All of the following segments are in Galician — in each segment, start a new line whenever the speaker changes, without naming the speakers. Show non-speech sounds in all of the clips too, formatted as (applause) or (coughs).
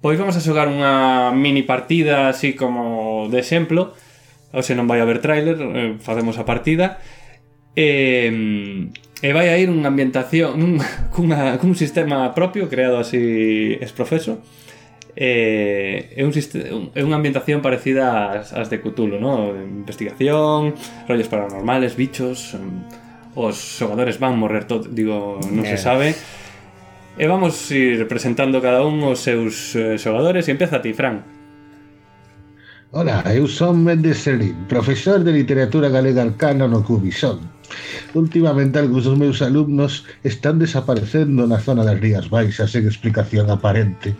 Pois vamos a xogar unha mini partida así como de exemplo. Ou se non vai haber tráiler, eh, facemos a partida. E, mm, e vai a ir unha ambientación, un, (laughs) cunha, cun sistema propio creado así exprofeso. Eh, é, un siste- un- é unha ambientación parecida ás, ás de Cthulhu, ¿no? Investigación, rollos paranormales, bichos, mm, os xogadores van morrer todo, digo, non se
Eh.
sabe. E vamos ir presentando cada un os seus eh, xogadores e empeza ti, Fran.
Ola, eu son Méndez Serín, profesor de literatura galega arcana no Cubisón. Últimamente algúns dos meus alumnos están desaparecendo na zona das Rías Baixas sen explicación aparente.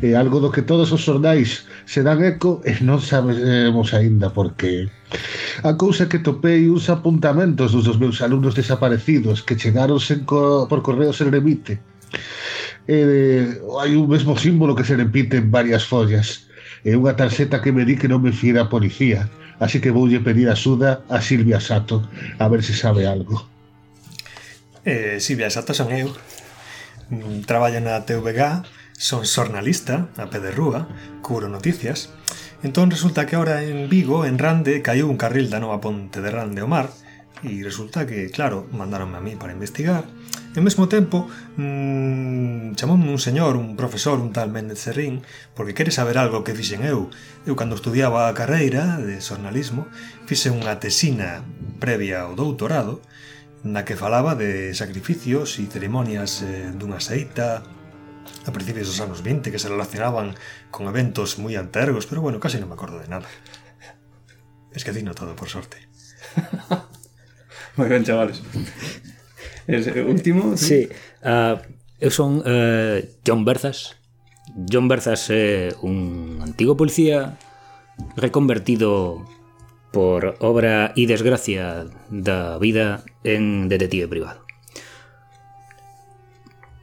É algo do que todos os xornais se dan eco e non sabemos aínda por que. A cousa é que topei uns apuntamentos dos dos meus alumnos desaparecidos que chegaron sen co por correo sen remite. E, eh, hai un mesmo símbolo que se repite en varias follas. É unha tarxeta que me di que non me fira a policía. Así que voulle pedir axuda a Silvia Sato, a ver se sabe algo.
Eh, Silvia Sato son eu Mm, Traballo na TVG Son xornalista, a pé de rúa Cubro noticias Entón resulta que ahora en Vigo, en Rande Caiu un carril da nova ponte de Rande ao mar E resulta que, claro, mandaronme a mí para investigar E ao mesmo tempo mmm, chamoume un señor, un profesor, un tal Méndez Serrín Porque quere saber algo que fixen eu Eu cando estudiaba a carreira de xornalismo Fixe unha tesina previa ao doutorado na que falaba de sacrificios e ceremonias eh, dunha seita a principios dos anos 20 que se relacionaban con eventos moi antergos, pero bueno, casi non me acordo de nada. Esquecino todo, por sorte.
Moi ben, chavales. Es, eh, último, ti?
Sí, ah, eu son eh, John Berzas. John Berzas é un antigo policía reconvertido por obra e desgracia da vida en detective privado.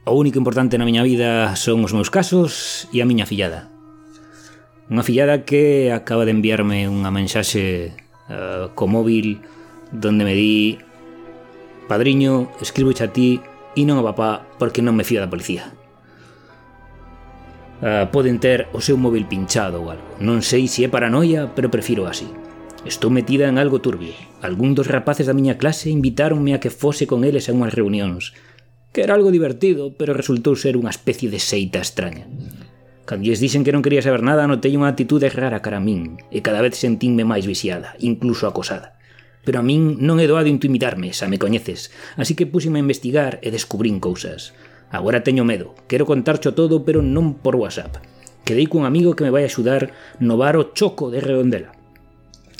O único importante na miña vida son os meus casos e a miña fillada. Unha fillada que acaba de enviarme unha mensaxe uh, co móvil donde me di Padriño, escribo a ti e non a papá porque non me fío da policía. Ah, poden ter o seu móvil pinchado ou algo. Non sei se é paranoia, pero prefiro así. Estou metida en algo turbio. Algún dos rapaces da miña clase invitáronme a que fose con eles a unhas reunións. Que era algo divertido, pero resultou ser unha especie de seita extraña. Cando lles dixen que non quería saber nada, notei unha atitude rara cara a min, e cada vez sentínme máis viciada, incluso acosada. Pero a min non é doado intimidarme, xa me coñeces, así que púxime a investigar e descubrín cousas. Agora teño medo, quero contarcho todo, pero non por WhatsApp. Quedei cun amigo que me vai axudar no bar o choco de Redondela.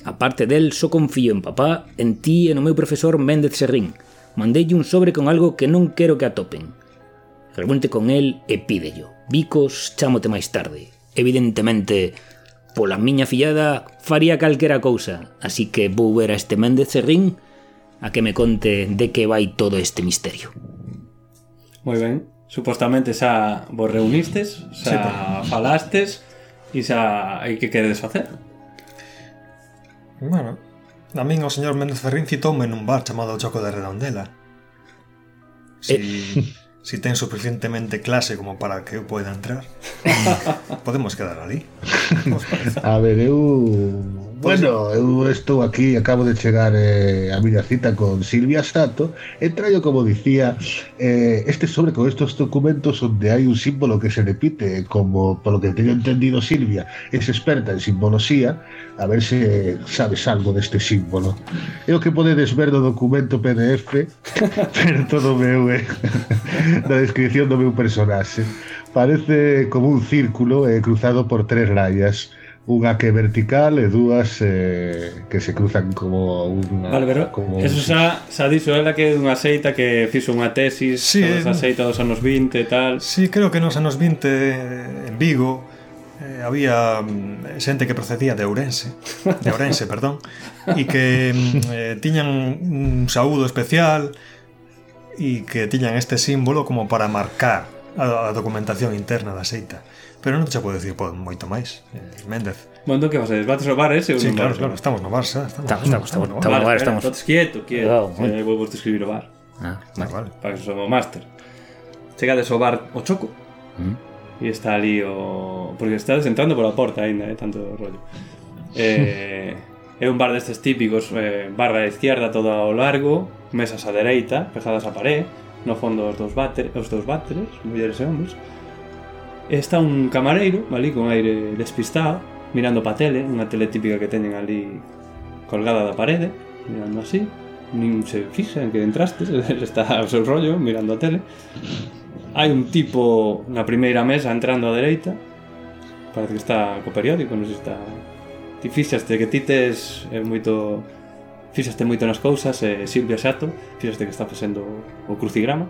A parte del, só confío en papá, en ti e no meu profesor Méndez Serrín. Mandei un sobre con algo que non quero que atopen. Reúnte con el e pídello. Bicos, chámote máis tarde. Evidentemente, pola miña fillada faría calquera cousa, así que vou ver a este Méndez Serrín a que me conte de que vai todo este misterio.
Moi ben. Supostamente xa vos reunistes, xa falastes e xa hai que queredes facer.
Bueno, a min o señor Méndez Ferrín citoume nun bar chamado Choco de Redondela. Si, (laughs) si ten suficientemente clase como para que eu poida (laughs) entrar, podemos quedar ali. Como os parece?
A ver, eu... Bueno, eu estou aquí, acabo de chegar eh, a miña cita con Silvia Sato e traio, como dicía, eh, este sobre con estos documentos onde hai un símbolo que se repite como, polo que teño entendido Silvia, es experta en simbolosía a ver se sabes algo deste símbolo. É o que podedes ver no documento PDF (laughs) pero todo meu é (laughs) na descripción do meu personaxe. Parece como un círculo eh, cruzado por tres rayas Unha que é vertical e dúas eh, que se cruzan como unha...
Vale, pero
Ah, como...
eso xa, xa dixo ela que é unha seita que fixo unha tesis
Sí,
sobre esa
eh.
seita dos anos 20 e tal.
Sí, creo que nos anos 20 eh, en Vigo eh, había mm, xente que procedía de Ourense, de
(laughs)
Ourense, perdón, e que mm, eh, tiñan un saúdo especial e que tiñan este símbolo como para marcar a, a documentación interna da seita. Pero non te xa podo dicir po- moito máis, eh, Méndez.
Bueno, entón, que facedes? Bates o bar ese? ou
Sí,
non
claro,
bates o
claro,
bar?
estamos no Barça. Estamos,
Estamos, estamos, estamos,
no
Vale,
Barça.
estamos. Ahora
espera,
estamos.
entonces quieto, quieto.
Cuidado,
Eh, vou vos describir o bar,
Ah,
Ah, vale.
para que somos máster. Chegades ao bar o choco, E está ali o... Porque estades entrando pola porta aínda, eh, tanto rollo. Eh, (laughs) é un bar destes típicos, eh, barra á izquierda todo ao largo, mesas á dereita, pegadas á paré, no fondo os dos váteres, os dos váteres, mulleres e homens. Está un camareiro, ali, con aire despistado, mirando pa tele, unha tele típica que teñen ali colgada da parede, mirando así, nin se fixa en que entraste, (laughs) está ao seu rollo, mirando a tele. Hai un tipo na primeira mesa entrando á dereita, parece que está co periódico, non sei se está... Ti fixaste que ti tes eh, moito... Fixaste moito nas cousas, eh, Silvia Xato, fixaste que está facendo o crucigrama.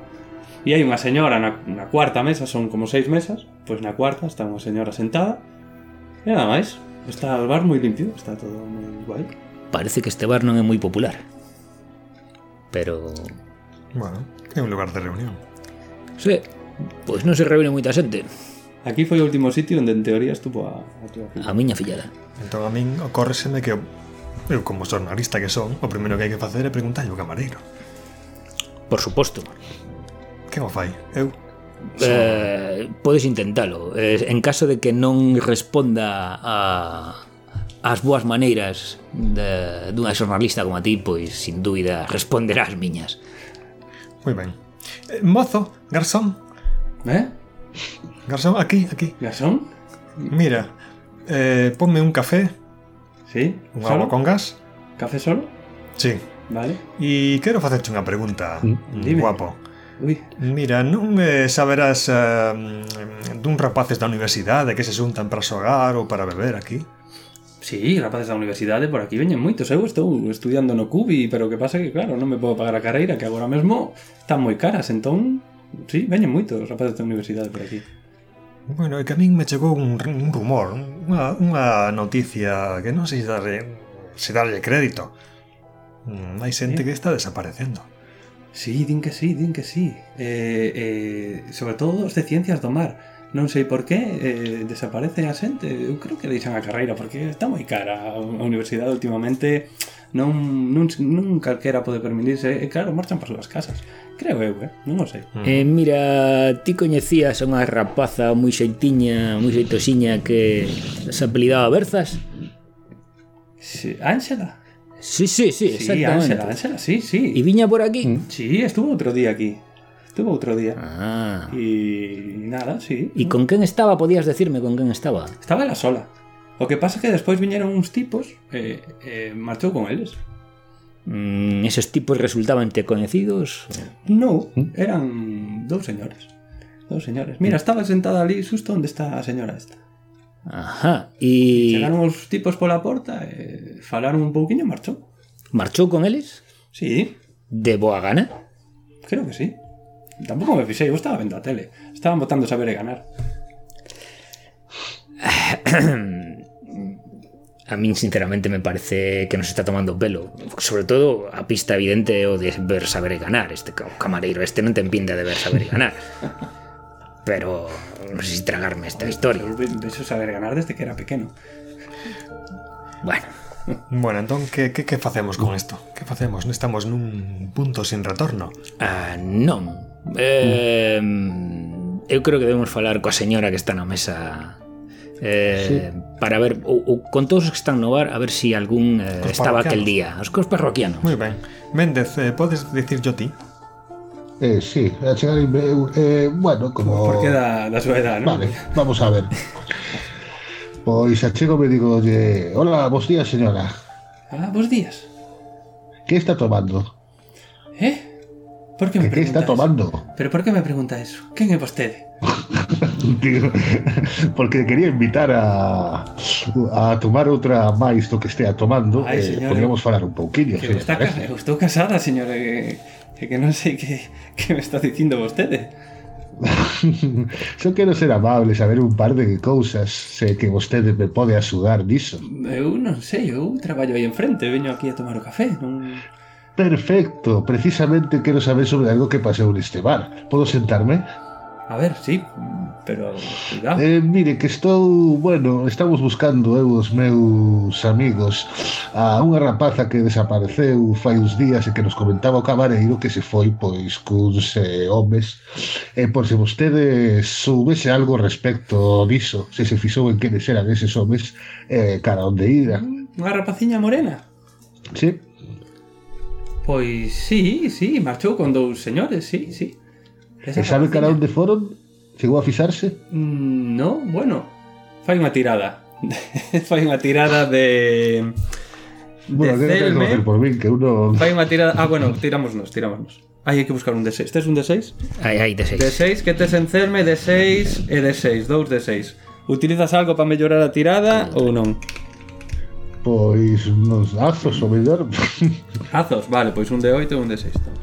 E hai unha señora na, na cuarta mesa, son como seis mesas, pois na cuarta está unha señora sentada, e nada máis. Está o bar moi limpio, está todo moi guai.
Parece que este bar non é moi popular. Pero...
Bueno, é un lugar de reunión.
Sí, pois non se reúne moita xente.
Aquí foi o último sitio onde en teoría estuvo a, a tua filla.
A miña fillada.
Entón a min ocórreseme que eu como xornalista que son, o primeiro que hai que facer é preguntarlle ao camareiro.
Por suposto.
Que o fai? Eu?
Eh, podes intentalo. Eh, en caso de que non responda a as boas maneiras de, dunha xornalista como a ti, pois sin dúbida responderás miñas.
Moi ben. Eh, mozo, garzón,
Eh?
garzón, aquí, aquí.
Gasón?
Mira, eh, ponme un café,
Sí?
un
Solo?
agua con gas.
Café solo?
Sí.
Vale.
E quero facerche unha pregunta,
dime.
guapo.
Ui,
Mira, non eh, saberás eh, dun rapaces da universidade que se xuntan para xogar ou para beber aquí?
Sí, rapaces da universidade por aquí veñen moitos. Eu estou estudiando no Cubi, pero o que pasa é que, claro, non me podo pagar a carreira, que agora mesmo están moi caras, entón... Sí, veñen moitos rapaces da universidade por aquí.
Bueno, é que a min me chegou un, r- un rumor, unha, unha noticia que non sei se darlle, se darlle crédito. Mm, hai xente que está desaparecendo.
Sí, din que sí, din que sí. Eh, eh, sobre todo os de ciencias do mar. Non sei por qué eh, desaparecen a xente. Eu creo que deixan a carreira porque está moi cara a a universidade últimamente. Non, non, non calquera pode permitirse. E claro, marchan para as súas casas. Creo eu, eh? non o sei.
Mm.
Eh, mira, ti coñecías a unha rapaza moi xeitiña, moi xeitosiña que se apelidaba Berzas?
Sí, Ángela.
Sí, sí, sí,
Sí, Ángela,
exactamente. Mm.
Ángela, sí,
E
sí.
viña por aquí?
Sí, estuvo outro día aquí. Estuvo outro día.
Ah.
E nada, sí.
E con quen estaba, podías decirme con quen estaba?
Estaba ela sola. O que pasa é que despois viñeron uns tipos e eh, eh, marchou con eles.
Mm, esos tipos resultaban te coñecidos?
No,
¿Mm?
eran dous señores. Dous señores. Mira, estaba sentada ali xusto onde está a señora esta.
Ajá. E
Chegaron os tipos pola porta e eh, falaron un pouquiño e marchou.
marchou con eles?
Sí,
De boa gana?
creo que sí. Tampouco me fixei, eu estaba vendo a tele. Estaban votando saber e ganar.
A min sinceramente me parece que nos está tomando o pelo Sobre todo a pista evidente é o de ver saber e ganar Este ca- o camareiro este non ten pinta de ver saber e
(laughs)
ganar Pero non sei se tragarme esta historia
Eu ve- vexo saber e ganar desde que era pequeno.
Bueno,
Bueno, entón, que, que, que facemos con isto? Que facemos? Estamos nun punto sin retorno.
ah, non eh, Eu creo que debemos falar coa señora que está na mesa Eh, para ver ou, ou con todos os que están no bar a ver se si algún eh,
Cos
estaba aquel
parroquianos.
día os cos parroquianos
Moi ben. Méndez, eh, podes dicir yo ti?
Eh, sí, a chegar y me- eh, bueno, como...
Porque da, da súa edad, non?
Vale, vamos a ver. Pois achego me digo, oye, hola, bos días, señora.
Ah, bons días.
Que está tomando?
Eh? Por que me
Que que
pregunta
está
eso?
tomando? (laughs)
Pero por que me pregunta eso? Quen é vostede?
Digo, porque quería invitar a a tomar outra máis do que estea tomando
Ai,
eh,
señora.
podíamos falar un
Que
pouquiño se
eu
lle
está
parece.
ca-
(laughs)
eu estou casada, señora, que, que, que non sei que, que me está dicindo vostede.
Só quero ser amable saber un par de cousas Sei que vostede me pode axudar niso
Eu non sei, eu traballo aí enfrente, veño aquí a tomar o café, non...
Perfecto, este precisamente quero saber sobre algo que pasou neste bar Podo sentarme?
A ver, sí, pero cuidado.
Eh, mire, que estou, bueno, estamos buscando eu os meus amigos a unha rapaza que desapareceu fai uns días e que nos comentaba o cabareiro que se foi pois cuns eh, homes e por se vostede soubese algo respecto diso, se se fixou en quenes eran eses homes eh, cara onde ira.
Unha rapaciña morena.
Sí?
Pois sí, sí, marchou con dous señores, sí, sí.
E sabe cara onde foron? Chegou a fixarse?
Mm, No, bueno, fai unha tirada. (laughs) fai unha tirada de
Bueno,
Desde
que non queres
el
conocer
me-
por min, que uno...
fai unha tirada. Ah, bueno, tirámonos, tirámonos. Aí hai que buscar un D6. Tes un D6?
Ai, ai, de seis.
D6 que tes enferme, D6 e D6, dous D6. Utilizas algo para mellorar a tirada ou non?
Pois nos azos, o mellor. (laughs)
Azos, vale, pois un D8 e un D6. toma.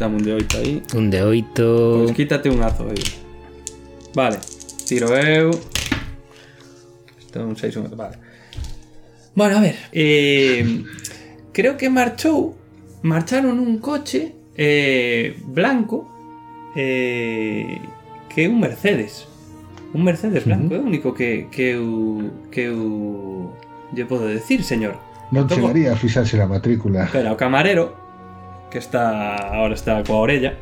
Dame un D8 aí.
Un de
Pois
oito...
quítate un azo aí. Vale, tiro eu. Isto é un 6, un vale. Bueno, a ver. Eh, creo que marchou, marcharon un coche eh, blanco eh, que é un Mercedes. Un Mercedes blanco, é o único que, que eu, que eu lle podo decir, señor.
Non
Tomo-
chegaría a fixarse na matrícula.
Espera, o camarero Que está ahora está coa orella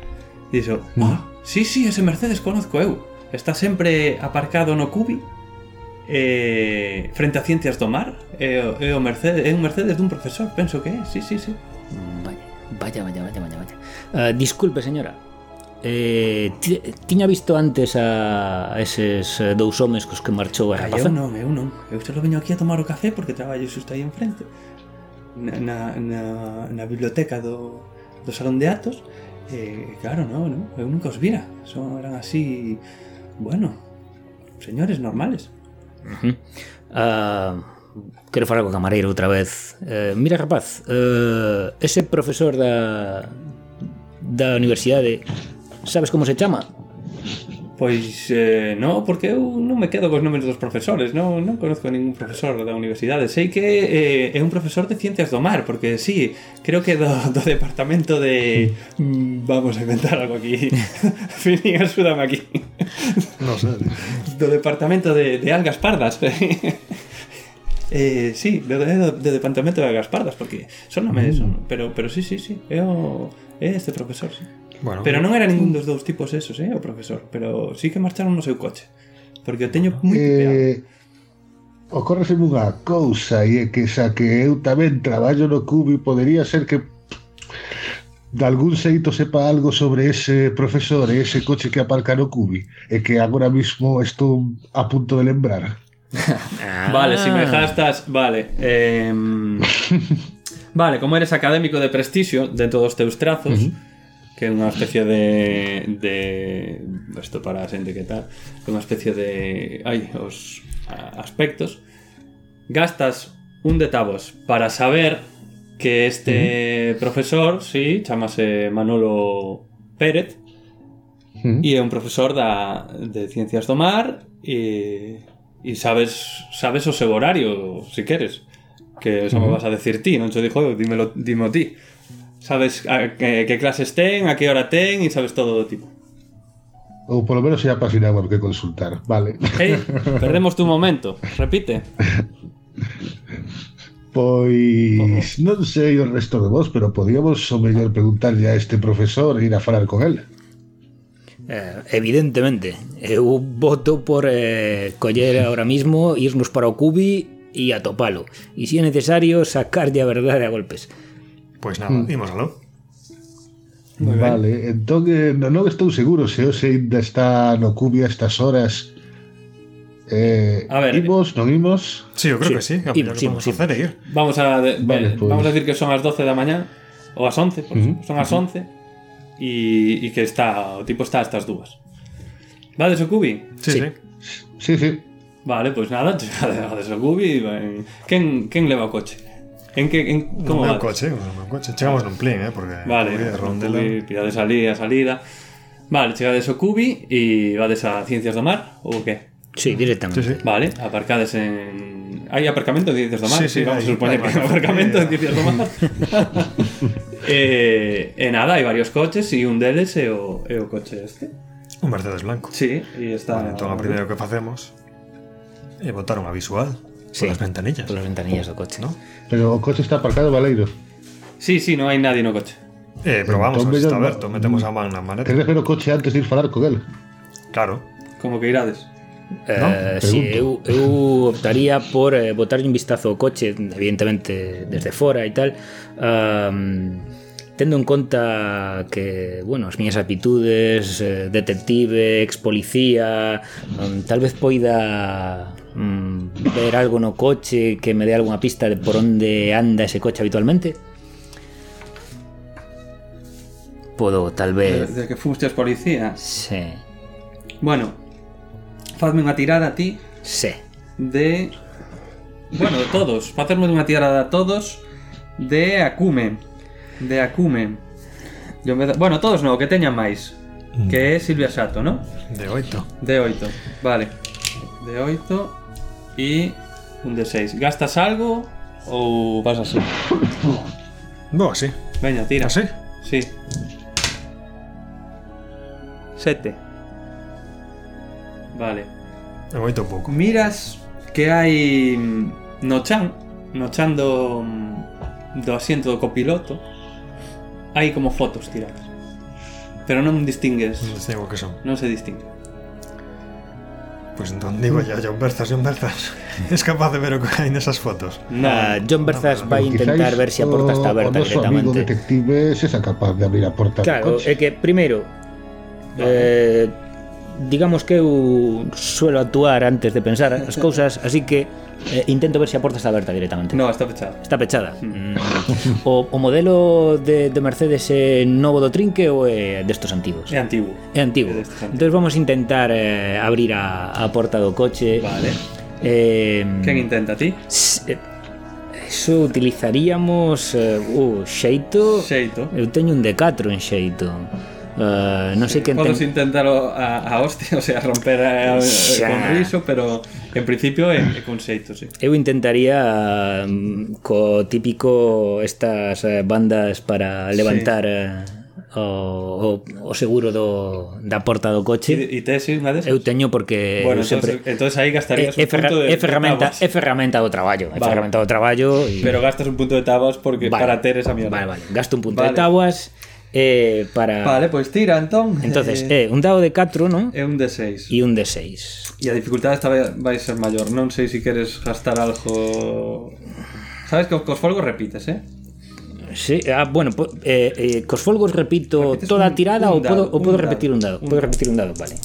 Dixo, ah, sí, sí, ese Mercedes conozco eu Está sempre aparcado no cubi eh, Frente a Ciencias do Mar É, o- é, o Mercedes, é un Mercedes dun profesor, penso que é Sí, sí, sí
Vaya, vaya, vaya, vaya, vaya, vaya. Ah, disculpe, señora. Eh, ti- tiña visto antes a eses eh, dous homes cos que marchou a
Ah, eu
rapaza?
non, eu non Eu só veño aquí a tomar o café porque traballo xusto aí enfrente Na, na, na, na biblioteca do, do Salón de Atos eh, Claro, non, non, eu nunca os vira Son, eran así, bueno, señores normales
Ujú. Ah, quero falar co camareiro outra vez. Eh, mira, rapaz, eh, ese profesor da da universidade, sabes como se chama?
Pois eh, no, porque eu non me quedo cos nomes dos profesores Non, non conozco ningún profesor da universidade Sei que eh, é un profesor de Ciencias do Mar Porque sí, creo que do, (laughs) do departamento de... Mm, Vamos a inventar algo aquí (laughs) Fini, axúdame aquí
No sé.
Do departamento de, de algas pardas (laughs) Eh, sí, do, do, do departamento de algas pardas Porque son nome son, pero, pero sí, sí, sí É, o, é este profesor, sí
Bueno,
Pero non era ningún dos dous tipos esos, eh, o profesor Pero sí que marcharon no seu coche Porque o teño moi tipeado
Eh, ocórreseme unha cousa e é que xa que eu tamén traballo no cubi podería ser que de algún xeito sepa algo sobre ese profesor e ese coche que aparca no cubi e que agora mismo estou a punto de lembrar
ah.
Vale, si me gastas, vale eh, Vale, como eres académico de prestixio Dentro dos teus trazos Que é unha especie de, de Isto para a xente que tal É unha especie de Ai, os a- aspectos gastas un de tabos para saber que este profesor, sí, chamase Manolo Pérez,
Ujú.
e é un profesor da, de Ciencias do Mar e, e sabes sabes o seu horario, se queres que eso me vas a decir ti, non te dixo eu, dímelo, dímelo ti sabes a, que, que clases ten, a que hora ten e sabes todo do tipo
ou polo menos é a página web que consultar vale (laughs)
Hey, perdemos tu momento, repite
pois non sei o resto de vos pero podíamos o mellor preguntarlle a este profesor e ir a falar con él
Eh, evidentemente, eh, eu voto por eh, coller ahora mismo, irnos para o cubi e atopalo. E se é necesario, sacarlle a verdade a golpes.
Pues nada, imos aló.
Vale, entón eh, non non estou seguro se hoxe ainda está no Cubia a estas horas eh,
A ver,
imos, non imos
Sí, yo creo
Sí.
que sí. A
Imos,
ver, vamos a
imos, imos.
hacer e ir.
Vamos a, de- eh,
Vale, pues.
vamos a decir que son las 12 de la mañana, o las 11, por ejemplo, son las 11, y, y que está, o tipo está a estas dúas. Vale, Sokubi?
Sí,
Sí.
sí.
Sí, sí,
(laughs) Vale, pois nada, de Sokubi, ben. quen, quen leva o coche? En que, en, como
Como un
vas?
coche, un coche. Chegamos nun plín, eh, porque
Vale,
Uy, rondela.
Sokubi, pillades a li- a salida. Vale, chegades ao Cubi e vades a Ciencias do Mar, ou que?
Sí,
Sí,
directamente.
sí.
Vale, aparcades en... Hai aparcamento en Ciencias do Mar?
Sí, sí,
vamos a
hai-
supoñer
hai
que hai aparcamento en Ciencias do Mar. (laughs) eh, e nada, hai varios coches e un deles é o, é o coche este.
Un Mercedes blanco.
Sí, e está...
Vale, entón, o primeiro que facemos é botar unha visual sí. polas ventanillas,
Por las ventanillas do coche.
¿no?
Pero o coche está aparcado, Valeiro.
Sí, sí, no hay nadie no coche.
Eh, probamos,
Entón,
entón, está
veña-
aberto, metemos a man na maneta.
Tens que ver o coche antes de ir falar con él.
Claro.
Como que irades.
Eh,
Non?
si,
Pregunto.
eu, eu optaría por eh, botarlle un vistazo ao coche, evidentemente desde fora e tal, um, tendo en conta que, bueno, as miñas aptitudes, eh, detective, ex policía, um, tal vez poida mm, ver algo no coche que me dé algunha pista de por onde anda ese coche habitualmente. Podo, tal vez...
Desde que fustes policía.
Se,
Bueno, fazme unha tirada a ti
se.
de... Bueno, de todos. Facerme unha tirada a todos de acume. De acume. Yo me da... Bueno, todos no, que teñan máis. Que é Silvia Sato, ¿no?
De oito.
De 8, vale. De 8 y un de 6. ¿Gastas algo o vas así?
Bo, así.
Venga, tira.
Así.
Sí. 7. Vale.
De oito pouco.
Miras que hai mm, no chan, no chan do, mm, do asiento do copiloto, hai como fotos tiradas. Pero non distingues,
Non sei o que son.
non se distingue.
Pois entón digo ya, John Berzas, John Berzas. (laughs) Es capaz de ver o que hai nesas fotos.
Nada.
Ah, John Berzas vai intentar ver se a porta está aberta
o noso amigo
directamente.
detective se esa capaz de abrir a porta do
Claro,
coche.
é que primeiro eh, digamos que eu suelo actuar antes de pensar as cousas, así que eh, intento ver se a porta está aberta directamente.
No, está fechado.
Está pechada. Mm. O, o modelo de, de Mercedes é novo do trinque ou é destos antigos?
É antigo.
É antigo.
É destes antigos.
Entón vamos a intentar eh, abrir a, a porta do coche.
Vale.
Eh,
Quen intenta ti?
s- eh, Eso utilizaríamos eh, o xeito
Xeito.
Eu teño un D4 en xeito. Uh, non sei quen ten...
Podes intentalo a, a hostia, (laughs) o sea, romper a, a,
Xa.
con riso, pero en principio é, é con xeito, sí.
Eu intentaría mm, co típico estas eh, bandas para levantar sí. o, o, o seguro do, da porta do coche.
E, e tes unha desas?
Eu teño porque
bueno,
eu sempre...
entonces, entonces aí
É,
gastarías
é,
un
ferra,
punto de,
é, ferramenta,
de
é ferramenta do traballo. É
Vale.
ferramenta do traballo. E...
Pero gastas un punto de tabas porque
Vale.
para ter esa mierda.
Vale, vale. Gasto un punto
Vale.
de tabuas eh, para...
Vale, pois pues tira, entón.
Entonces, eh, un dado de 4, non?
É un de 6.
E un de
E
6.
a dificultade esta vai, vai ser maior. Non sei se queres gastar algo... Sabes que cos folgos repites, eh?
Sí, ah, bueno, po- eh, eh, cos folgos repito
Repites
toda a
este un-
tirada
un
ou podo,
dado,
ou podo
un
repetir
dado,
un dado?
un
Podo
dado.
repetir un dado, vale.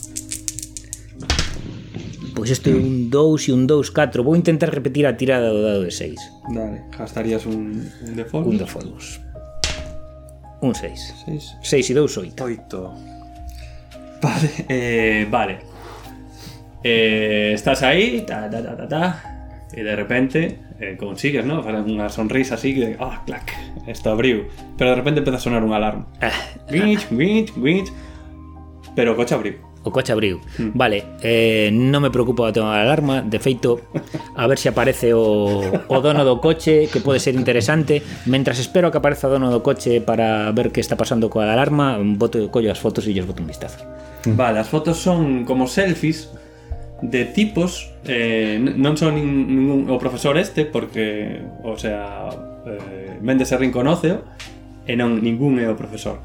Pois isto é Pues un 2 e un 2, 4. Vou intentar repetir a tirada do dado de 6.
Vale, gastarías un, un de folgos.
Un de folgos. Un 6.
6.
6 e 2,
8.
8.
Vale, eh, vale. Eh, estás ahí, ta, ta, ta, ta, ta, y de repente eh, consigues, ¿no? Hacer Una sonrisa así de, ah, clac, esto abriu. Pero de repente empieza a sonar un alarma.
Ah.
Guinch, guinch, guinch. Pero o coche abriu.
O coche abriu.
Hmm.
Vale, eh, non me preocupa o tema da alarma. De feito, a ver se aparece o, o dono do coche, que pode ser interesante. Mentras espero que apareza o dono do coche para ver que está pasando coa alarma, boto, collo as fotos e lles boto un vistazo.
Vale, as fotos son como selfies de tipos eh, n- non son nin, ningún o profesor este porque, o sea, eh, Méndez Serrín conóceo e non ningún é o profesor.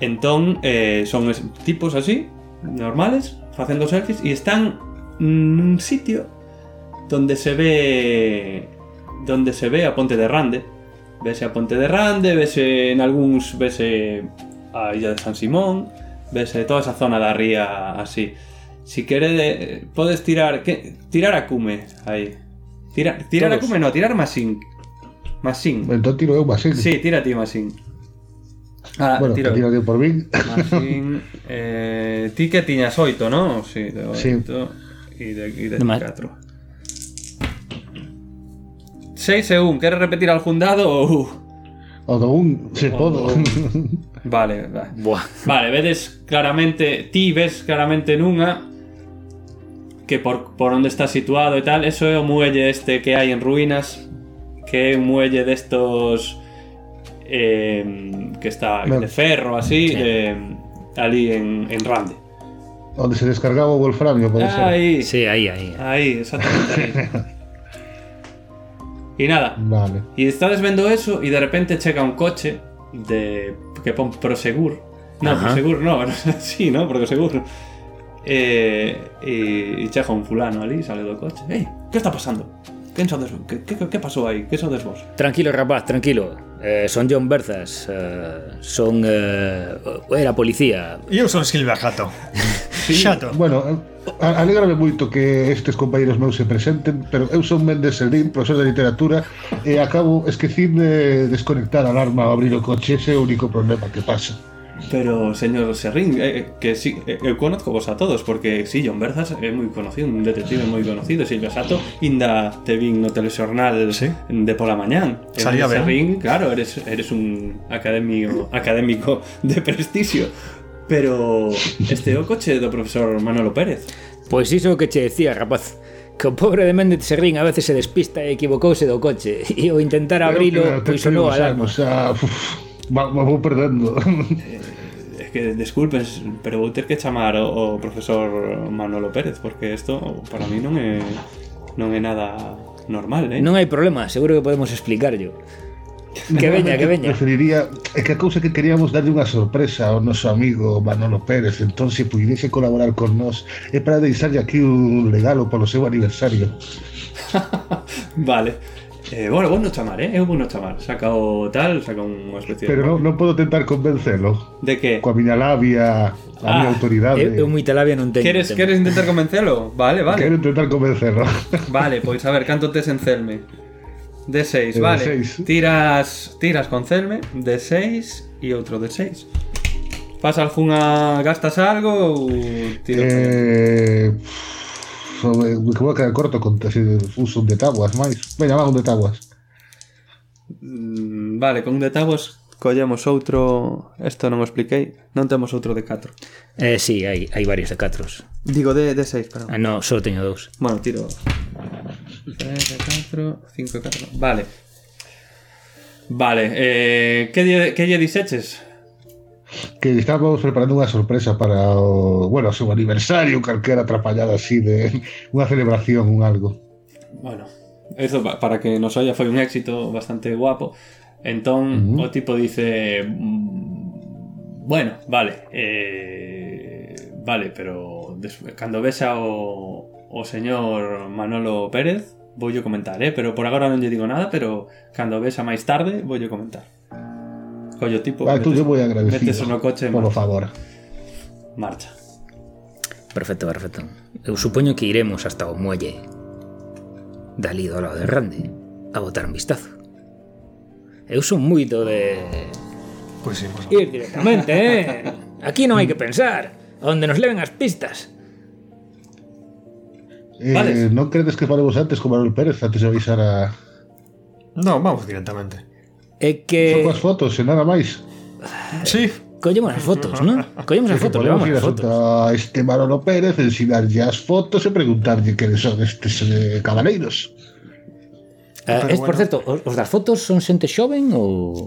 Entón, eh, son es, tipos así, normales, facendo selfies e están nun sitio donde se ve donde se ve a Ponte de Rande. Vese a Ponte de Rande, vese en algúns, vese a Illa de San Simón, vese toda esa zona da ría así. Si quere, eh, podes tirar, que, tirar a cume aí. Tira, tirar a
Todos.
cume, no, tirar masín. Masín.
Entón tiro eu máis.
Sí, tira ti masín. Ah,
bueno,
tiro.
que tiro eu por min.
Masín, eh, ti que tiñas oito, non? Sí, de oito
Sí.
e de, e de,
De ma-
catro. Seis e un, queres repetir algún dado ou...
O do un, se
O do
podo.
un. Vale, va.
Buah.
Vale, vedes claramente, ti ves claramente nunha que por, por onde está situado e tal, eso é o muelle este que hai en ruínas, que é un muelle destos eh, que está
Ben.
de ferro así,
Sí.
eh, ali en, en Rande.
Onde se descargaba (laughs) o wolframio, pode ser.
Ahí,
Sí, ahí, ahí.
ahí, exactamente. ahí. y nada,
Vale.
Y estades vendo eso y de repente chega un coche de que pon Prosegur. No,
Ajá.
Prosegur no, (laughs) sí, ¿no? Porque seguro. Eh, e, e chega un fulano ali, sale do coche. Ei, que está pasando? Quen sodes? Que, que, que pasou aí? Que sodes vos?
Tranquilo, rapaz, tranquilo. Eh, son John Berzas. eh, son. Eh, era policía.
Eu son Silvia Jato.
(laughs)
Xato.
Bueno, a- alégrame moito que estes compañeros meus se presenten, pero eu son Méndez Seldín, profesor de literatura, e acabo esquecín de desconectar a alarma ao abrir o coche, ese é o único problema que pasa.
Pero, señor Serrín, eh, eh, que sí, eh, eu conozco vos a todos, porque sí, John Berzas é moi conocido, un detective moi conocido, Silvia Sato, inda te vin no telexornal
Sí.
de pola mañán. E
Salía ben.
Serrín, claro, eres, eres un académico, académico de prestigio, pero este é o coche do profesor Manolo Pérez.
Pois iso que che decía, rapaz. Que o pobre de Méndez Serrín a veces se despista e equivocouse do coche. (laughs) E ao intentar abrilo,
Creo que
pois sonou a
temos
alarma.
anos, ah, uf, va- va- vou perdendo.
É que, disculpen, pero vou ter que chamar o, o profesor Manolo Pérez, porque isto para mí non é, non é nada normal, eh?
Non hai problema, seguro que podemos explicarlo. Que veña, que
(laughs)
veña.
Preferiría, é que a cousa que queríamos darlle unha sorpresa ao noso amigo Manolo Pérez, entón se puidese colaborar con nós, é para deixarlle aquí un regalo polo seu aniversario.
Vale. Eh, bueno, vos no chamar, eh? Eu vou no chamar. Saca o tal, saca unha especie
Pero non, non podo tentar convencelo.
de... De que...
Coa miña labia, a miña
Ah,
autoridade.
Eu, eu moita labia non teño.
Queres,
teño.
queres intentar convencelo? Vale, vale.
Quero intentar convencerlo.
Vale, pois a ver, canto tes en Celme? De 6,
Eh,
vale.
seis.
Tiras tiras con Celme, de 6 e outro de 6. Fas algunha... gastas algo ou tiras?
Eh, sobre, me vou quedar corto con se uso un de tabuas máis. Veña, va un de tabuas.
Mm, Vale, con un de tabos collemos outro... Esto non o expliquei. Non temos outro de 4.
Eh, sí, hai, hai varios de catros.
Digo, de, de 6, perdón.
Ah, no, só teño dous.
Bueno, tiro 3, 4, 5, 4. Vale. Vale, eh, que lle, que lle diseches?
Que estamos preparando unha sorpresa para o, bueno, o seu aniversario, calquera atrapallada así de (laughs) unha celebración, un algo.
Bueno, eso pa- para que nos haya foi un éxito bastante guapo. Entón, o
Ujú.
tipo dice... mm, Bueno, vale. eh, vale, pero des- cando ves ao, o señor Manolo Pérez, voulle comentar, eh? Pero por agora non lle digo nada, pero cando ves a máis tarde, voulle comentar. Collo tipo...
Ah, tú
metes-
lle moi agradecido.
Metes no coche e
Por
marcha.
favor.
marcha.
Perfecto, perfecto. Eu supoño que iremos hasta o muelle. Dalí do lado de Rande. A botar un vistazo. Eu son moito de...
Pois sí, pois.
Ir directamente, eh? Aquí non hai que pensar. Onde nos leven as pistas.
Eh,
Vale.
Non credes que falemos antes con Manuel Pérez antes de avisar a...
No, vamos directamente.
É
Eh,
Só
que...
coas fotos e nada máis.
Sí,
Collemos as fotos,
(laughs)
non? Collemos as
Que
fotos,
podemos
levamos
ir
as
a
fotos.
xunta a este Manolo Pérez, ensinarlle as fotos e preguntarlle que son estes eh, cabaleiros.
Eh,
Pero
es,
bueno.
por certo, os, os das fotos son xente xoven ou...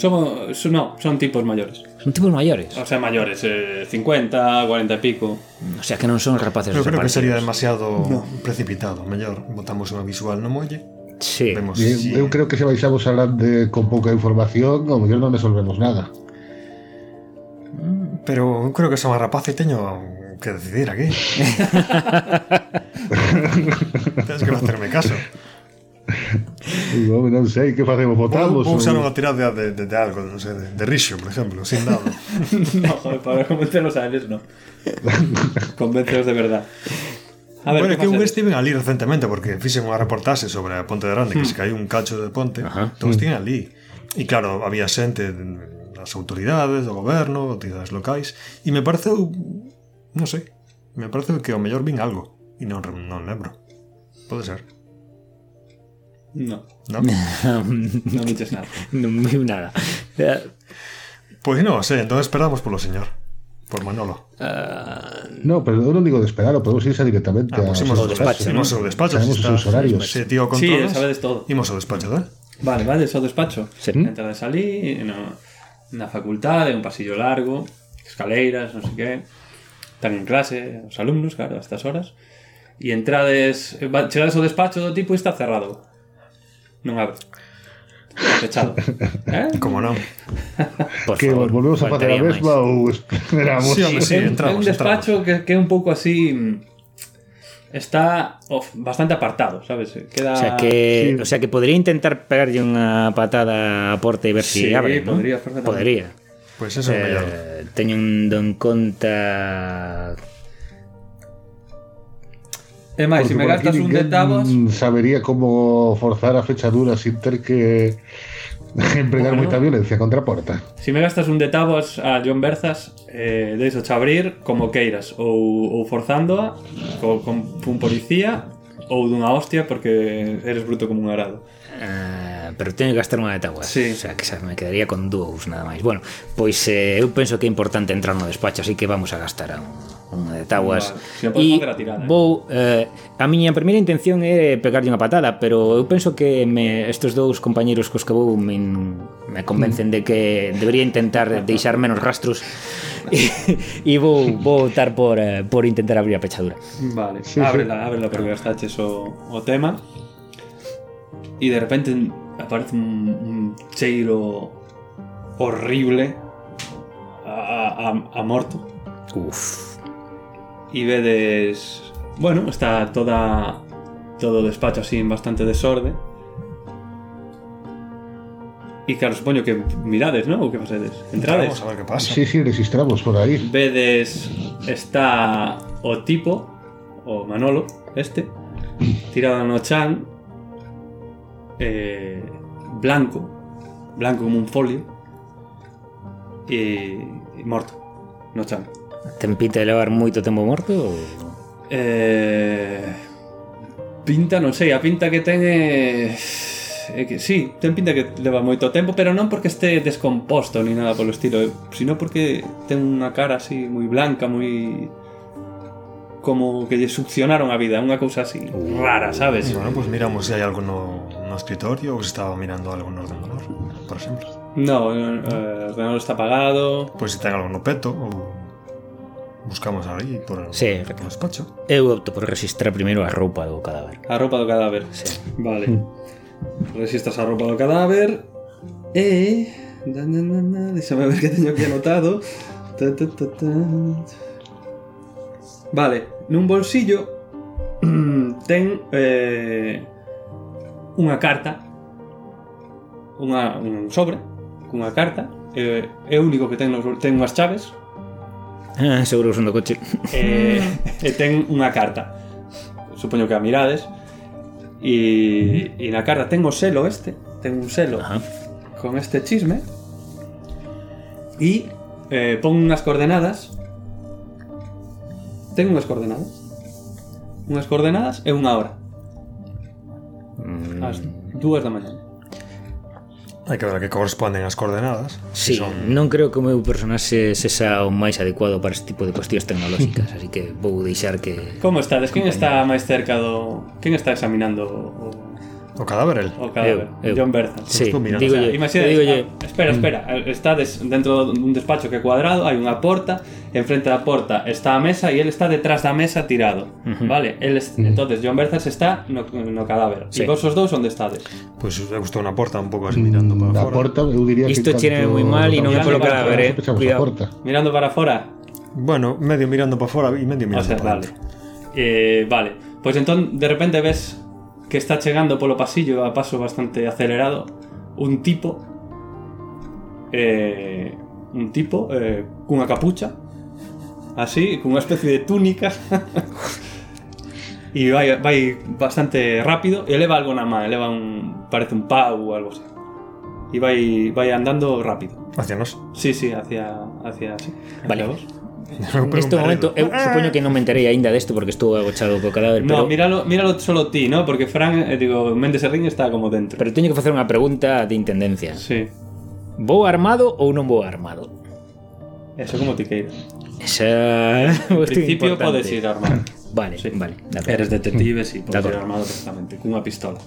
Son, son- no, son tipos maiores.
Son tipos maiores?
O sea, maiores, eh, 50, 40 e pico.
O sea que non son rapaces
eu creo que sería
desaparecidos.
demasiado precipitado. Mellor botamos unha visual no molle,
Sí.
vemos
E
si...
Eh, Eu creo que se baixamos a hablar de, con pouca información, ao mellor non resolvemos nada.
Pero eu creo que son a rapaz e teño que decidir aquí. Tens que facerme caso.
Digo, "Home, non sei, que facemos,
Vou,
votamos?
vou usar
ou-
unha tirada de, de, de algo, non sei, de, de rixo, por exemplo, sin dado.
(laughs) no, joder, para convencerlos a eles, no. Convenceros de verdad. A ver,
bueno,
¿qué
que eu
pasa?
estiven ali recentemente porque fixen unha reportaxe sobre a Ponte de Grande que se caiu un cacho de ponte,
Ajá.
entón estiven ali. E claro, había xente mm, das autoridades, do goberno, entidades locais, e me pareceu, non sei, me pareceu que ao mellor vin algo, e non, re- non lembro. Pode ser,
No,
non?
no me eches nada.
(laughs) non viu nada. Eh,
Pois non, sei, entón esperamos polo señor, por Manolo.
No, pero eu non digo de esperar, o podemos irse directamente
Ah,
a...
pois imos ao
despacho,
despacho, imos ao despacho,
Sabemos
se
os seus horarios.
Se tío
Sí,
controlas,
sabedes todo.
imos ao despacho, da?
Vale, vale, eso despacho.
Sí.
Entra de salir, na, na facultade, un pasillo largo, escaleiras, non sei que. están en clase, os alumnos, claro, a estas horas. E entrades, eh, va- chegades ao despacho do tipo e está cerrado. Non abre. Está fechado. Eh?
Como non?
Por
Que
favor,
volvemos a facer a
faltaría máis.
mesma ou esperamos?
Sí, hombre, sí,
é un- é un
entramos, entramos.
despacho que, que é un pouco así mm, está of- bastante apartado, sabes? Queda
O sea que,
Sí.
o sea que podría intentar pegarlle unha patada a porta e ver
Sí,
se abre, ¿no?
podría, perfectamente.
Podría.
Pois Pues eso é o mellor.
Eh, teñendo en conta
É máis, se me
Porque por
gastas un
aquí
de
ninguén
tabas,
Sabería como forzar a fechadura sin ter que (laughs) empregar
Bueno.
moita violencia contra a porta.
se me gastas un de tabas a John Berzas, eh, deixo xa abrir como queiras, ou, ou forzándoa co, con un policía ou dunha hostia porque eres bruto como un arado.
Ah, pero teño que gastar unha de taguas
Sí.
O sea, que xa me quedaría con dous nada máis Bueno, pois eh, eu penso que é importante entrar no despacho Así que vamos a gastar a un, unha de taguas
Vale, se podemos facer a tirada, eh.
vou eh, A miña primeira intención é pegarlle unha patada Pero eu penso que me, estes dous compañeros cos que vou Me, me convencen de que debería intentar deixar menos rastros E, e vou, vou optar por, eh, por intentar abrir a pechadura
Vale,
Sí, sí.
ábrela, ábrela porque gastaches o, o tema. Y de repente aparece un, un cheiro horrible a, a- a morto.
Uf,
Y vedes. Bueno, está toda. Todo o despacho así en bastante desorden. Y claro, supoño que mirades, ¿no? ¿O qué facedes? Entrades.
Vamos a ver que pasa.
Sí, sí, registramos por aí.
Vedes está o tipo, o Manolo, este, tirado no chan, eh, blanco, blanco como un folio, e, e morto, no chan.
Tempita de levar moito tempo morto ou...
Eh, pinta, non sei, a pinta que ten é... é que, sí, ten pinta que leva moito tempo, pero non porque este descomposto ni nada polo estilo, eh, sino porque ten unha cara así moi blanca, moi como que lle succionaron a vida, unha cousa así
Uh.
rara, sabes?
Y bueno, pues miramos si hay algo no, no escritorio o si estaba mirando algo en ordenador, por ejemplo.
No, eh, o ordenador está apagado.
Pues si tenga algo no peto o buscamos ahí por el,
Sí.
por el despacho.
Eu opto por registrar primeiro a roupa do cadáver.
A roupa do cadáver.
Sí.
Vale. Resistas a roupa do cadáver. E... Na, na, na, na, Déxame ver que teño aquí anotado. Ta, ta, ta, ta. Vale, nun bolsillo (clears throat) ten eh, unha carta unha, un sobre cunha carta eh, é o único que ten, no sobre- ten unhas chaves
Ah, seguro que son do coche.
(laughs) eh,
Mm.
e ten unha carta supoño que a mirades e, e na carta ten o selo este ten un selo
Mm. Ajá.
con este chisme e eh, pon unhas coordenadas ten unhas coordenadas unhas coordenadas e unha hora
Mm,
ás dúas da mañá
Hay que ver a qué corresponden las coordenadas.
Sí,
son-
non creo que o meu personaxe sexa o máis adecuado para este tipo de cuestións tecnolóxicas, así que vou deixar que...
Como estades? Quen está máis cerca do... Quen está examinando o,
O cadáver él.
o cadáver?
Eu, eu.
John Berzan.
Sí,
Estou mirando.
O
digo
sea,
yo,
imaxinades,
digo mm. yo,
ah, espera, espera, estades dentro dun despacho que é cuadrado, hai unha porta, enfrente da porta está a mesa e ele está detrás da mesa tirado, vale? El es, entonces John Berzas está no, no cadáver.
Sí.
E vos os dous onde estades?
Pues os he gustado una puerta
Mm,
un poco así mirando para
a
afuera.
porta, eu diría
isto
que
chérame moi mal e non é
tanto-
polo
tanto-
cadáver, eh.
Fechamos a
Cuidado.
porta.
Mirando para fora,
Bueno, medio mirando para afuera y medio
O
mirando
sea,
para
vale.
adentro.
Eh, vale. Pues entonces de repente ves que está llegando por lo pasillo a paso bastante acelerado un tipo. eh, un tipo eh, con una capucha. Así, con una especie de túnica. (laughs) y va, va bastante rápido. Y eleva algo nada más. Eleva un. Parece un pau o algo así. Y va, va andando rápido.
Hacia (laughs) nos.
Sí, sí, hacia. hacia sí, hacia
Vale.
vos.
Neste momento, eu supoño que non me enterei aínda desto porque estou agochado co cadáver,
No,
pero,
míralo, míralo solo ti, ¿no? Porque Frank, eh, digo, Méndez Serrín está como dentro.
pero teño que facer unha pregunta de intendencia.
Sí,
Vou armado ou non vou armado?
eso como ti queiras.
Esa... (laughs)
En
cuestión
principio
Pues
podes
importante.
ir armado.
Vale,
Sí.
vale. de acordo.
Eres detective, sí, podes
De
ir
acordo.
armado perfectamente, cunha pistola.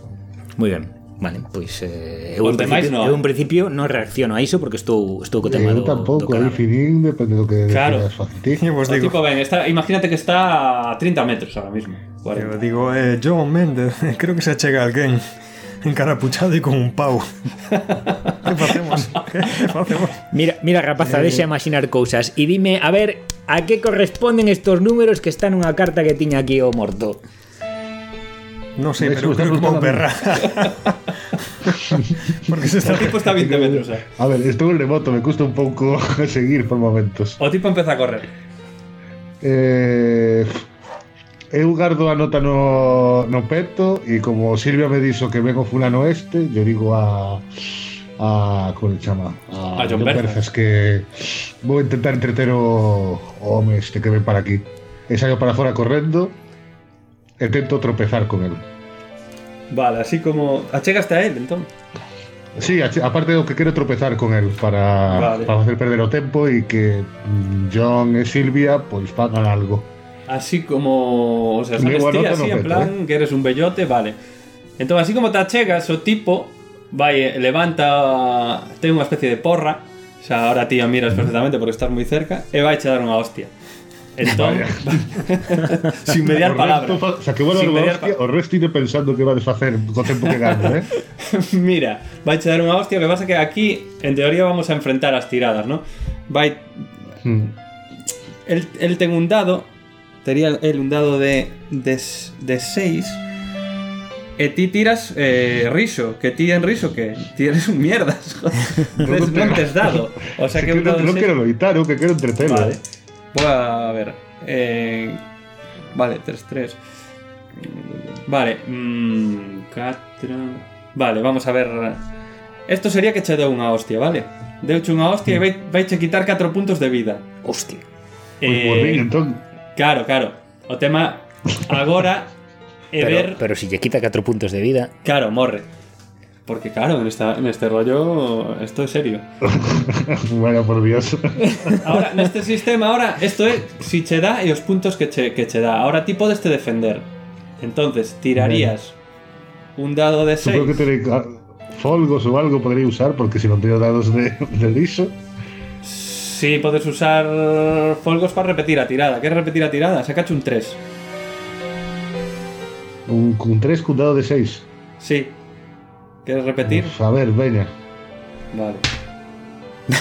Muy bien. Vale, pois eh,
Os
eu, en
demais
principio,
non.
eu en principio non reacciono a iso porque estou estou co tema
Eu
do, do
tampouco, aí
cadáver.
finín, depende do que
Claro.
quedas facer ti.
Eu vos
Pues
O
digo,
tipo, ven, está, imagínate que está a 30 metros ahora mismo. 40.
eu digo eh, John Méndez, (laughs) creo que se achega alguén encarapuchado e con un
(laughs)
pau. que facemos? Que facemos?
Mira, mira, rapaza,
Eh.
deixa imaginar cousas e dime, a ver, a que corresponden estos números que están nunha carta que tiña aquí o morto?
Non sei,
Me
pero
gusta
creo que vou
gustar a
perra. Porque se está
O tipo está a
(laughs)
20 metros. eh.
A ver, estou en remoto, me custa un pouco (laughs) seguir por momentos.
O tipo empeza a correr.
Eh, eu gardo a nota no, no peto e como Silvia me dixo que vengo fulano este, yo digo a a como le chama
A John Berzas.
Berzas que vou intentar entreter o, o home este que ven para aquí e saio para fora correndo e tento tropezar con el
Vale, así como. Achegaste a él, entón.
Sí, ache- aparte do que quero tropezar con el para,
Vale.
para facer perder o tempo e que mm, John e Silvia pois pagan algo
Así como. O sea,
Muy
sabes
buena
ti,
nota
así
no
en
peto,
plan que eres un bellote, vale. Entón, así como te achegas, o tipo vai, levanta, ten unha especie de porra, o sea, ahora ti a miras perfectamente porque estás moi cerca, e vai che dar unha hostia. Entón, (laughs) sin
(laughs)
mediar
O resto
palabra.
fa- O sea, que bueno,
Sin
algo,
mediar
hostia,
pa- (laughs)
o resto iré pensando que va a desfacer co tempo que gano, eh?
Mira, vai che dar unha hostia, o que pasa é que aquí, en teoría, vamos a enfrentar as tiradas, ¿no? Vai,
Mm.
él, él ten un dado, tería él un dado de, de, s- de 6. E ti tiras eh, riso, que ti en riso que ti eres un mierdas, (laughs) joder. Entonces,
No, no,
non tes dado. O sea
Si
que
que
un
non,
dado de
non
seis-
quero loitar, eu que quero entretelo.
Vale. Voy a ver. eh, vale, 3-3. Vale. mm, catra- Vale, vamos a ver. Esto sería que che deu unha hostia, vale? Deuche unha hostia e vai, vai che quitar 4 puntos de vida.
Hostia.
Pois eh... bien, entón, (laughs)
Claro, claro. O tema agora é
Pero,
Eh, ver,
pero si lle quita 4 puntos de vida,
claro, morre. Porque claro, en, esta, en este rollo esto es serio.
vaya por
(laughs)
Dios.
Ahora, neste sistema ahora esto é si che dá e os puntos que che, que che dá. Ahora ti podes te defender. Entonces, tirarías un dado de
Supongo
6.
que terei ah, folgos ou algo podría usar, porque se non teño dados de, de liso,
Sí, podes usar folgos para repetir a tirada. Que repetir a tirada? Sacache un 3.
un, un 3 cun dado de 6.
Sí. ¿Quieres repetir?
A ver, veña.
Vale.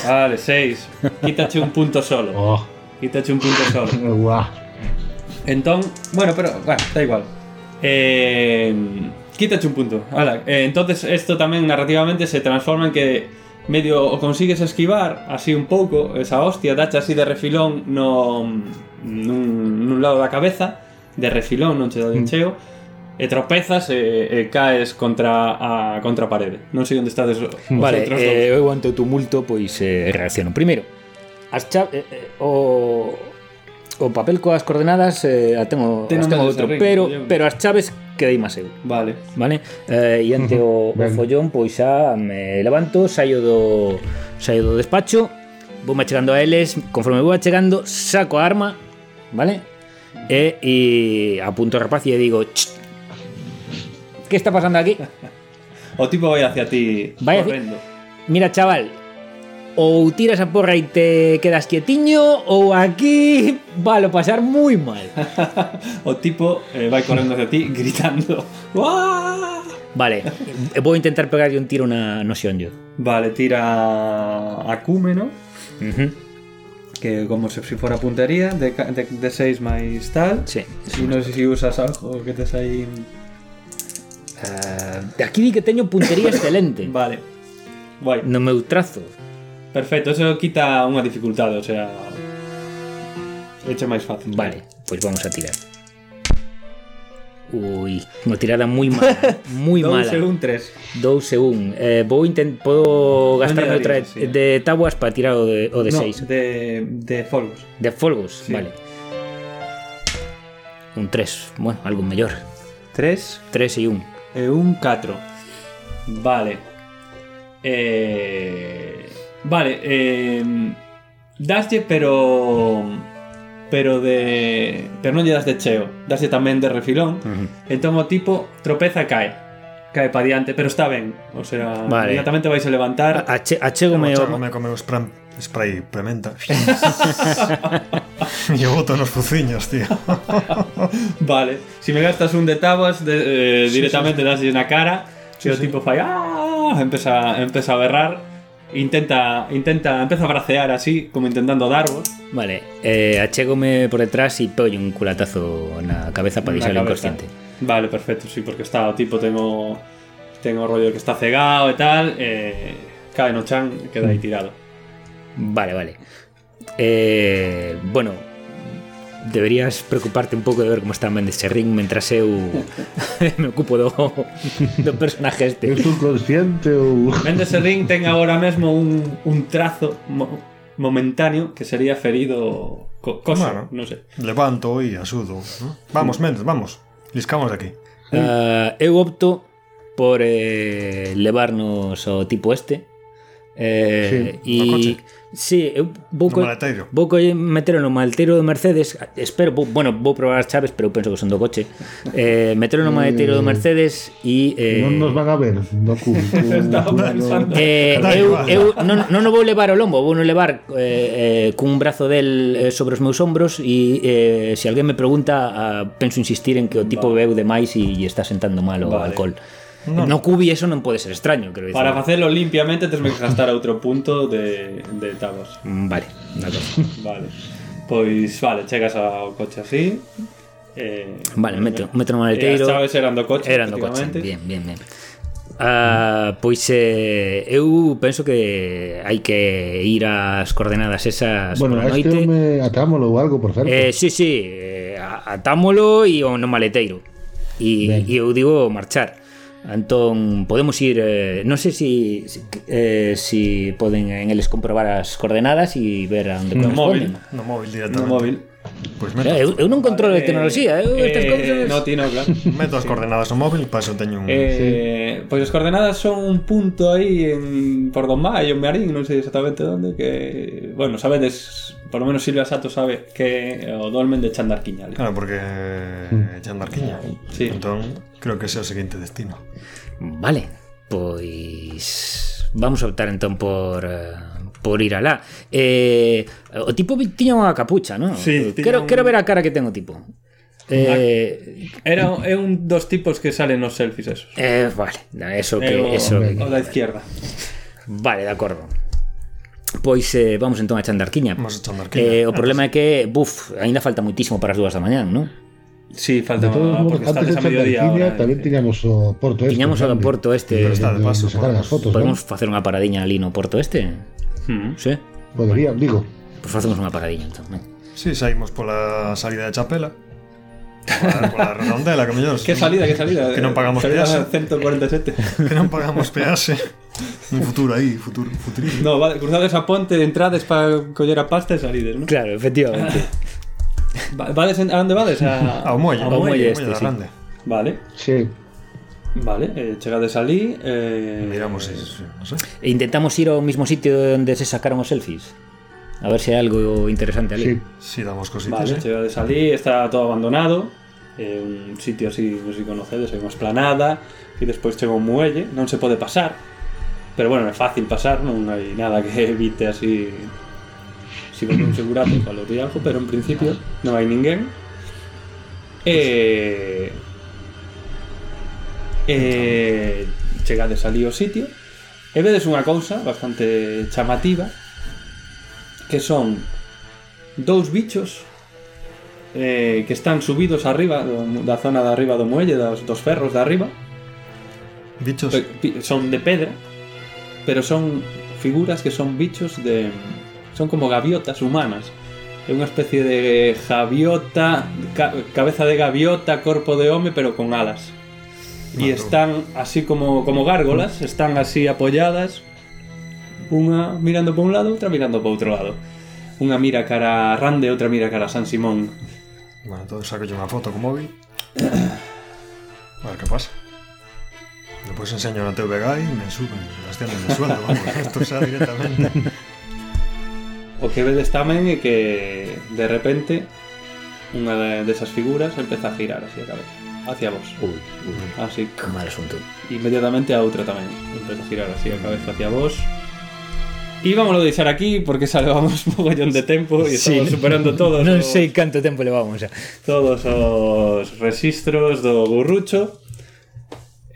Vale, 6. Quítache un punto solo.
Oh, (laughs)
Quítache un punto solo.
guau.
Entón, bueno, pero, bueno, da igual. Eh, quítache un punto. Ala, eh, entonces esto tamén narrativamente se transforma en que medio o consigues esquivar así un pouco esa hostia, dacha así de refilón no mm, nun, nun lado da cabeza, de refilón, non che dá de
Mm.
cheo, e tropezas e, e caes contra a contra a parede. Non sei onde estades os
Vale,
outros
eh, eu ante o tumulto pois eh, reacciono. Primeiro, as cha eh, eh, o o papel coas coordenadas eh, a tengo,
Ten o
as tengo
menos
outro,
arriba,
pero
collemos.
pero as chaves quedei máis eu.
dos. Vale.
Vale? Eh, e ante o, o
Ben.
follón pois xa me levanto, saio do saio do despacho, vou chegando a eles, conforme vou chegando, saco a arma, vale? E, e apunto ao rapaz e digo, "Ch! Que está pasando aquí?
O tipo vai hacia ti
Vai hacia-
correndo.
Mira, chaval, ou tiras a porra e te quedas quietiño ou aquí valo pasar moi mal.
O tipo eh, vai correndo hacia ti (laughs) gritando. "Uah!"
Vale, vou intentar pegarlle un tiro na no xeonllo.
Vale, tira acúmeno,
Uh -huh.
que como se si fora puntería, de, ca- de, de 6 máis tal.
Sí.
E non sei se usas algo que tes aí...
Uh, aquí di que teño puntería excelente
Vale. Guai.
(laughs) no meu trazo.
Perfecto, eso quita unha dificultade, o sea... Eche máis fácil.
Vale, pois vamos a tirar. Ui, unha tirada moi (laughs) mala, moi
Dous
mala.
e un 3.
2 e 1. Eh, vou intent podo gastarme outra
darías, sí.
de tabuas para tirar o de, o de 6.
No, de, de folgos.
De folgos,
Sí.
vale. Un 3, bueno, algo mellor.
3
3 e
e
1.
un 4. Vale. Eh, vale, eh, daslle pero pero de pero non lle das de cheo, daslle tamén de refilón. Entón o tipo tropeza e cae. cae para diante, pero está ben. O sea,
Vale.
inmediatamente vais a levantar.
Ache, achégome
Como
ao-
me comeu spray, spray (laughs) prementa. e eu boto nos fuciños, tío.
Vale. Si me gastas un de tabas, de- eh, directamente das en la cara.
Sí,
y el
sí.
tipo falla. ¡ah! Empieza, empieza a berrar. Intenta, intenta, empieza a bracear así, como intentando dar vos.
Vale, eh, achégome por detrás e pollo un culatazo na cabeza para
na
deixalo
cabeza.
inconsciente.
Vale, perfecto, sí, porque está o tipo, tengo tengo rollo que está cegado e tal, eh, cae no chan, queda
Mm.
aí tirado.
Vale, vale. Eh, bueno, deberías preocuparte un pouco de ver como está Mendes Serrín mentras eu (laughs) me ocupo do, do personaje
É
este.
subconsciente ou...
Mendes Serrín ten agora mesmo un, un trazo mo- momentáneo que sería ferido co coso,
Bueno.
non sei.
Levanto e asudo. ¿no? Vamos, Mendes, vamos. Liscamos de aquí.
Ah, eu opto por eh, levarnos ao tipo este. Eh,
Sí, no coche.
e Sí, eu vou,
No
co-
maleteiro.
vou co metelo no maleteiro do Mercedes Espero, vou, bueno, vou probar as chaves Pero eu penso que son do coche eh, Metelo no maleteiro do Mercedes E (laughs) eh,
Non nos van a ver no
(laughs)
cu.
Estaba pensando.
Eh,
Da
eu,
igual.
eu non, non o vou levar ao lombo, vou non levar eh, eh, cun brazo del eh, sobre os meus ombros e eh, se alguén me pregunta ah, penso insistir en que o tipo bebeu demais e, e está sentando mal o
Vale.
alcohol. No, no cubi eso non pode ser extraño, creo dicir.
Para facelo limpiamente tens que gastar outro punto de, de tabas.
Mm, Vale, de acordo.
Vale. Pois, vale, chegas ao coche así. Eh,
Vale, meto, meto no
E
maleteiro.
as chaves eran do coche,
Eran do coche,
efectivamente.
bien, bien, bien. Ah, pois eh, eu penso que hai que ir ás coordenadas esas
Bueno, a
pola noite.
este home atámolo ou algo, por certo.
Eh, sí, sí, eh, a- atámolo e o no maleteiro. E,
Ben.
e eu digo marchar. Entón, podemos ir, eh, non sei se si, eh, si poden en eles comprobar as coordenadas e ver a onde
No Mm.
corresponden.
móvil.
No móvil
No
directamente.
móvil.
Pois
Mira,
meto,
Eu, eu non controlo de
Eh,
tecnoloxía, eu estas
eh,
cousas...
No, ti no, claro.
meto as coordenadas no móvil, paso teño un...
Eh, Pois as coordenadas son un punto aí en por Don Maio, en Mearín, non sei exactamente onde que, bueno, sabedes, por lo menos Silvia Sato sabe que é o dolmen de Chandarquiñal.
Claro, porque Chandarquiña.
Mm. Sí.
Entón, creo que ese é o seguinte destino.
Vale, pois vamos a optar entón por eh, por ir alá. Eh, o tipo vi- tiña unha capucha, non?
Sí, tiña
quero,
un-
quero ver a cara que ten o tipo. Eh,
Era é un dos tipos que salen nos selfies esos.
eh, vale, na- eso que
É
Eh,
o,
eso que,
o da izquierda.
Vale, de acordo. Pois eh, vamos entón a Chandarquiña.
Vamos a Chandarquiña. Ah,
Eh, o problema é que, buf, aínda falta muitísimo para as dúas da mañán, non?
Pois,
Sí,
De
falta
todos modos,
porque
antes
estades
de
a mediodía
Chandarquiña
ahora.
tamén tiñamos o Porto este.
Tiñamos o do
pois grande.
Porto este.
Pero está de
Onde
paso,
se sacaran as fotos,
Podemos
non?
facer unha paradiña ali no Porto este?
Hmm.
Sí?
Podería, digo.
Pois facemos unha paradiña entón. ven.
Sí, saímos pola salida de Chapela. Pola, pola redondela, que mellor.
Que salida, que salida. eh,
Que non pagamos
salida
peaxe.
147.
Que non pagamos peaxe. Un futuro aí, futuro, futurismo.
No, vale, cruzades a ponte, entrades para coller a pasta e salides, non?
Claro, efectivamente.
Va- Vades en, a onde vades? A,
Ao molle,
ao
Ao
muelle.
muelle
ao
este,
da
sí.
Grande.
Vale,
Sí.
vale, eh, chegades alí eh,
Miramos iso, non sei.
E Intentamos ir ao mismo sitio onde se sacaron os selfies. A ver se hai algo interesante
Sí.
ali.
Si damos cositas,
Vale,
eh.
chegades alí, está todo abandonado eh, Un sitio así, non sei se conocedes, hai unha esplanada E despois chega un muelle, non se pode pasar Pero bueno, é fácil pasar, non hai nada que (laughs) evite así Si vos non segurate, falo de algo Pero en principio non hai ninguén E... Eh, chegades alí ao sitio E vedes unha cousa bastante chamativa Que son dous bichos eh, que están subidos arriba do- da zona de arriba do muelle, dos, dos ferros de arriba.
Bichos.
Pe- pi- Son de pedra, pero son figuras que son bichos de... Son como gaviotas humanas. É unha especie de gaviota, ca- cabeza de gaviota, corpo de home, pero con alas. E
Mato.
están así como, como gárgolas, están así apoyadas, unha mirando para un lado, outra mirando para outro lado. Unha mira cara a Rande, outra mira cara a San Simón.
Bueno, entón saco unha foto co móvil. A ver que pasa. Depois enseño na TVG e me suben, as tienen de sueldo, vamos, esto xa directamente.
O que vedes tamén é que de repente unha de- desas figuras empeza a girar así a cabeza. hacia vos.
Ui, ui,
Así.
mal asunto.
Inmediatamente a outra tamén. Intento girar así a cabeza hacia vos. E vamos a deixar aquí porque (laughs) xa levamos mogollón de tempo e estamos
Sí.
superando todos
Non
os,
sei canto tempo levamos xa.
todos os registros do burrucho.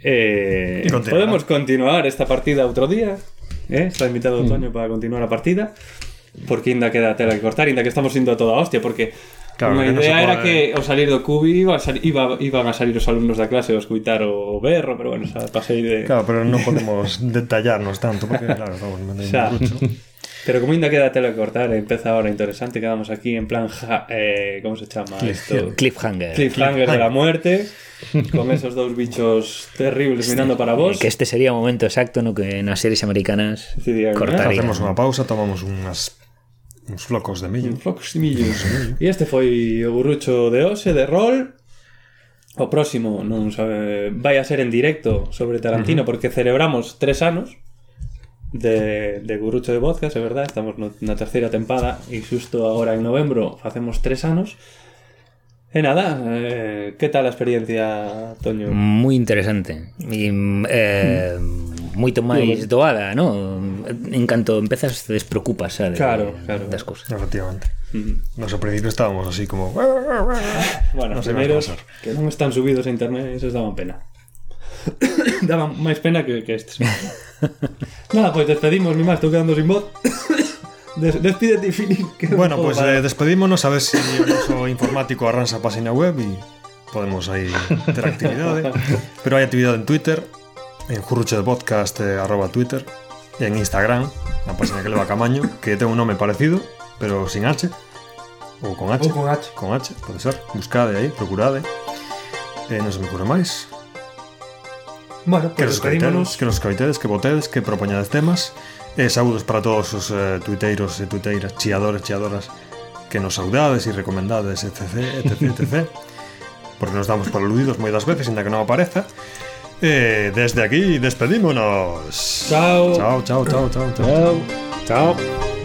Eh,
E continuará.
podemos continuar esta partida outro día. Eh? Está invitado
Mm.
Toño para continuar a partida. Porque ainda queda tela que cortar, ainda que estamos indo a toda hostia, porque
Claro,
unha
que non se
idea
pode-
era que ao salir do cubi iba a sal- iba, iban a salir os alumnos da clase a escutar o berro, pero bueno, xa pasei de...
Claro, pero no podemos detallarnos tanto porque, claro, estamos en un
Xa.
rucho.
Pero como ainda queda tela que cortar, empeza ahora interesante, quedamos aquí en plan ja, eh, como se chama isto?
Cliffhanger.
Cliffhanger de la muerte con esos dous bichos terribles mirando para vos.
Que este sería o momento exacto no que nas series americanas
Decidirían, ¿eh?
cortarían.
Hacemos una pausa, tomamos unas, uns flocos de millo.
Fox de Millos. E este foi o burrucho de hoxe de rol. O próximo non sabe, vai a ser en directo sobre Tarantino porque celebramos tres anos de, de Gurucho de Vodka, é verdad, estamos no, na terceira tempada e xusto agora en novembro facemos tres anos. E nada, eh, que tal a experiencia, Toño?
Moi interesante e eh, moito máis doada, no? En canto empezas te despreocupas, sabe,
Claro, claro.
das cousas.
Efectivamente. Nos al principio estábamos así como...
Bueno,
non
os
sei máis
primeiros
pasar.
que non están subidos a internet, esos daban pena. (coughs) daban máis pena que, que
(laughs)
estes. Nada, pois despedimos, mi más, estou quedando sin voz. (coughs) Des, despídete, Filip. que non
Bueno,
podo
pues
parar.
eh, despedímonos a ver si el uso informático arransa página web y podemos ahí tener actividades. Pero hay actividad en Twitter, en Jurrucho de Podcast, eh, arroba Twitter, y en Instagram, la página que le va Camaño, que tengo un nombre parecido, pero sin H. O con H.
Ou con H.
Con H, puede ser. Buscade ahí, procurade. Eh, no se me ocurre máis.
Bueno,
Que
pues
nos coitedes,
despedímonos.
que nos coitedes, que votedes, que propoñades temas. E saúdos para todos os eh, tuiteiros e tuiteiras, chiadores, chiadoras, que nos saudades e recomendades, etc, etc, etc. (laughs) Porque nos damos por aludidos moitas veces, inda que non apareza. E desde aquí despedímonos.
Chao.
Chao, chao, chao, chao. chao.
Chao.
Chao.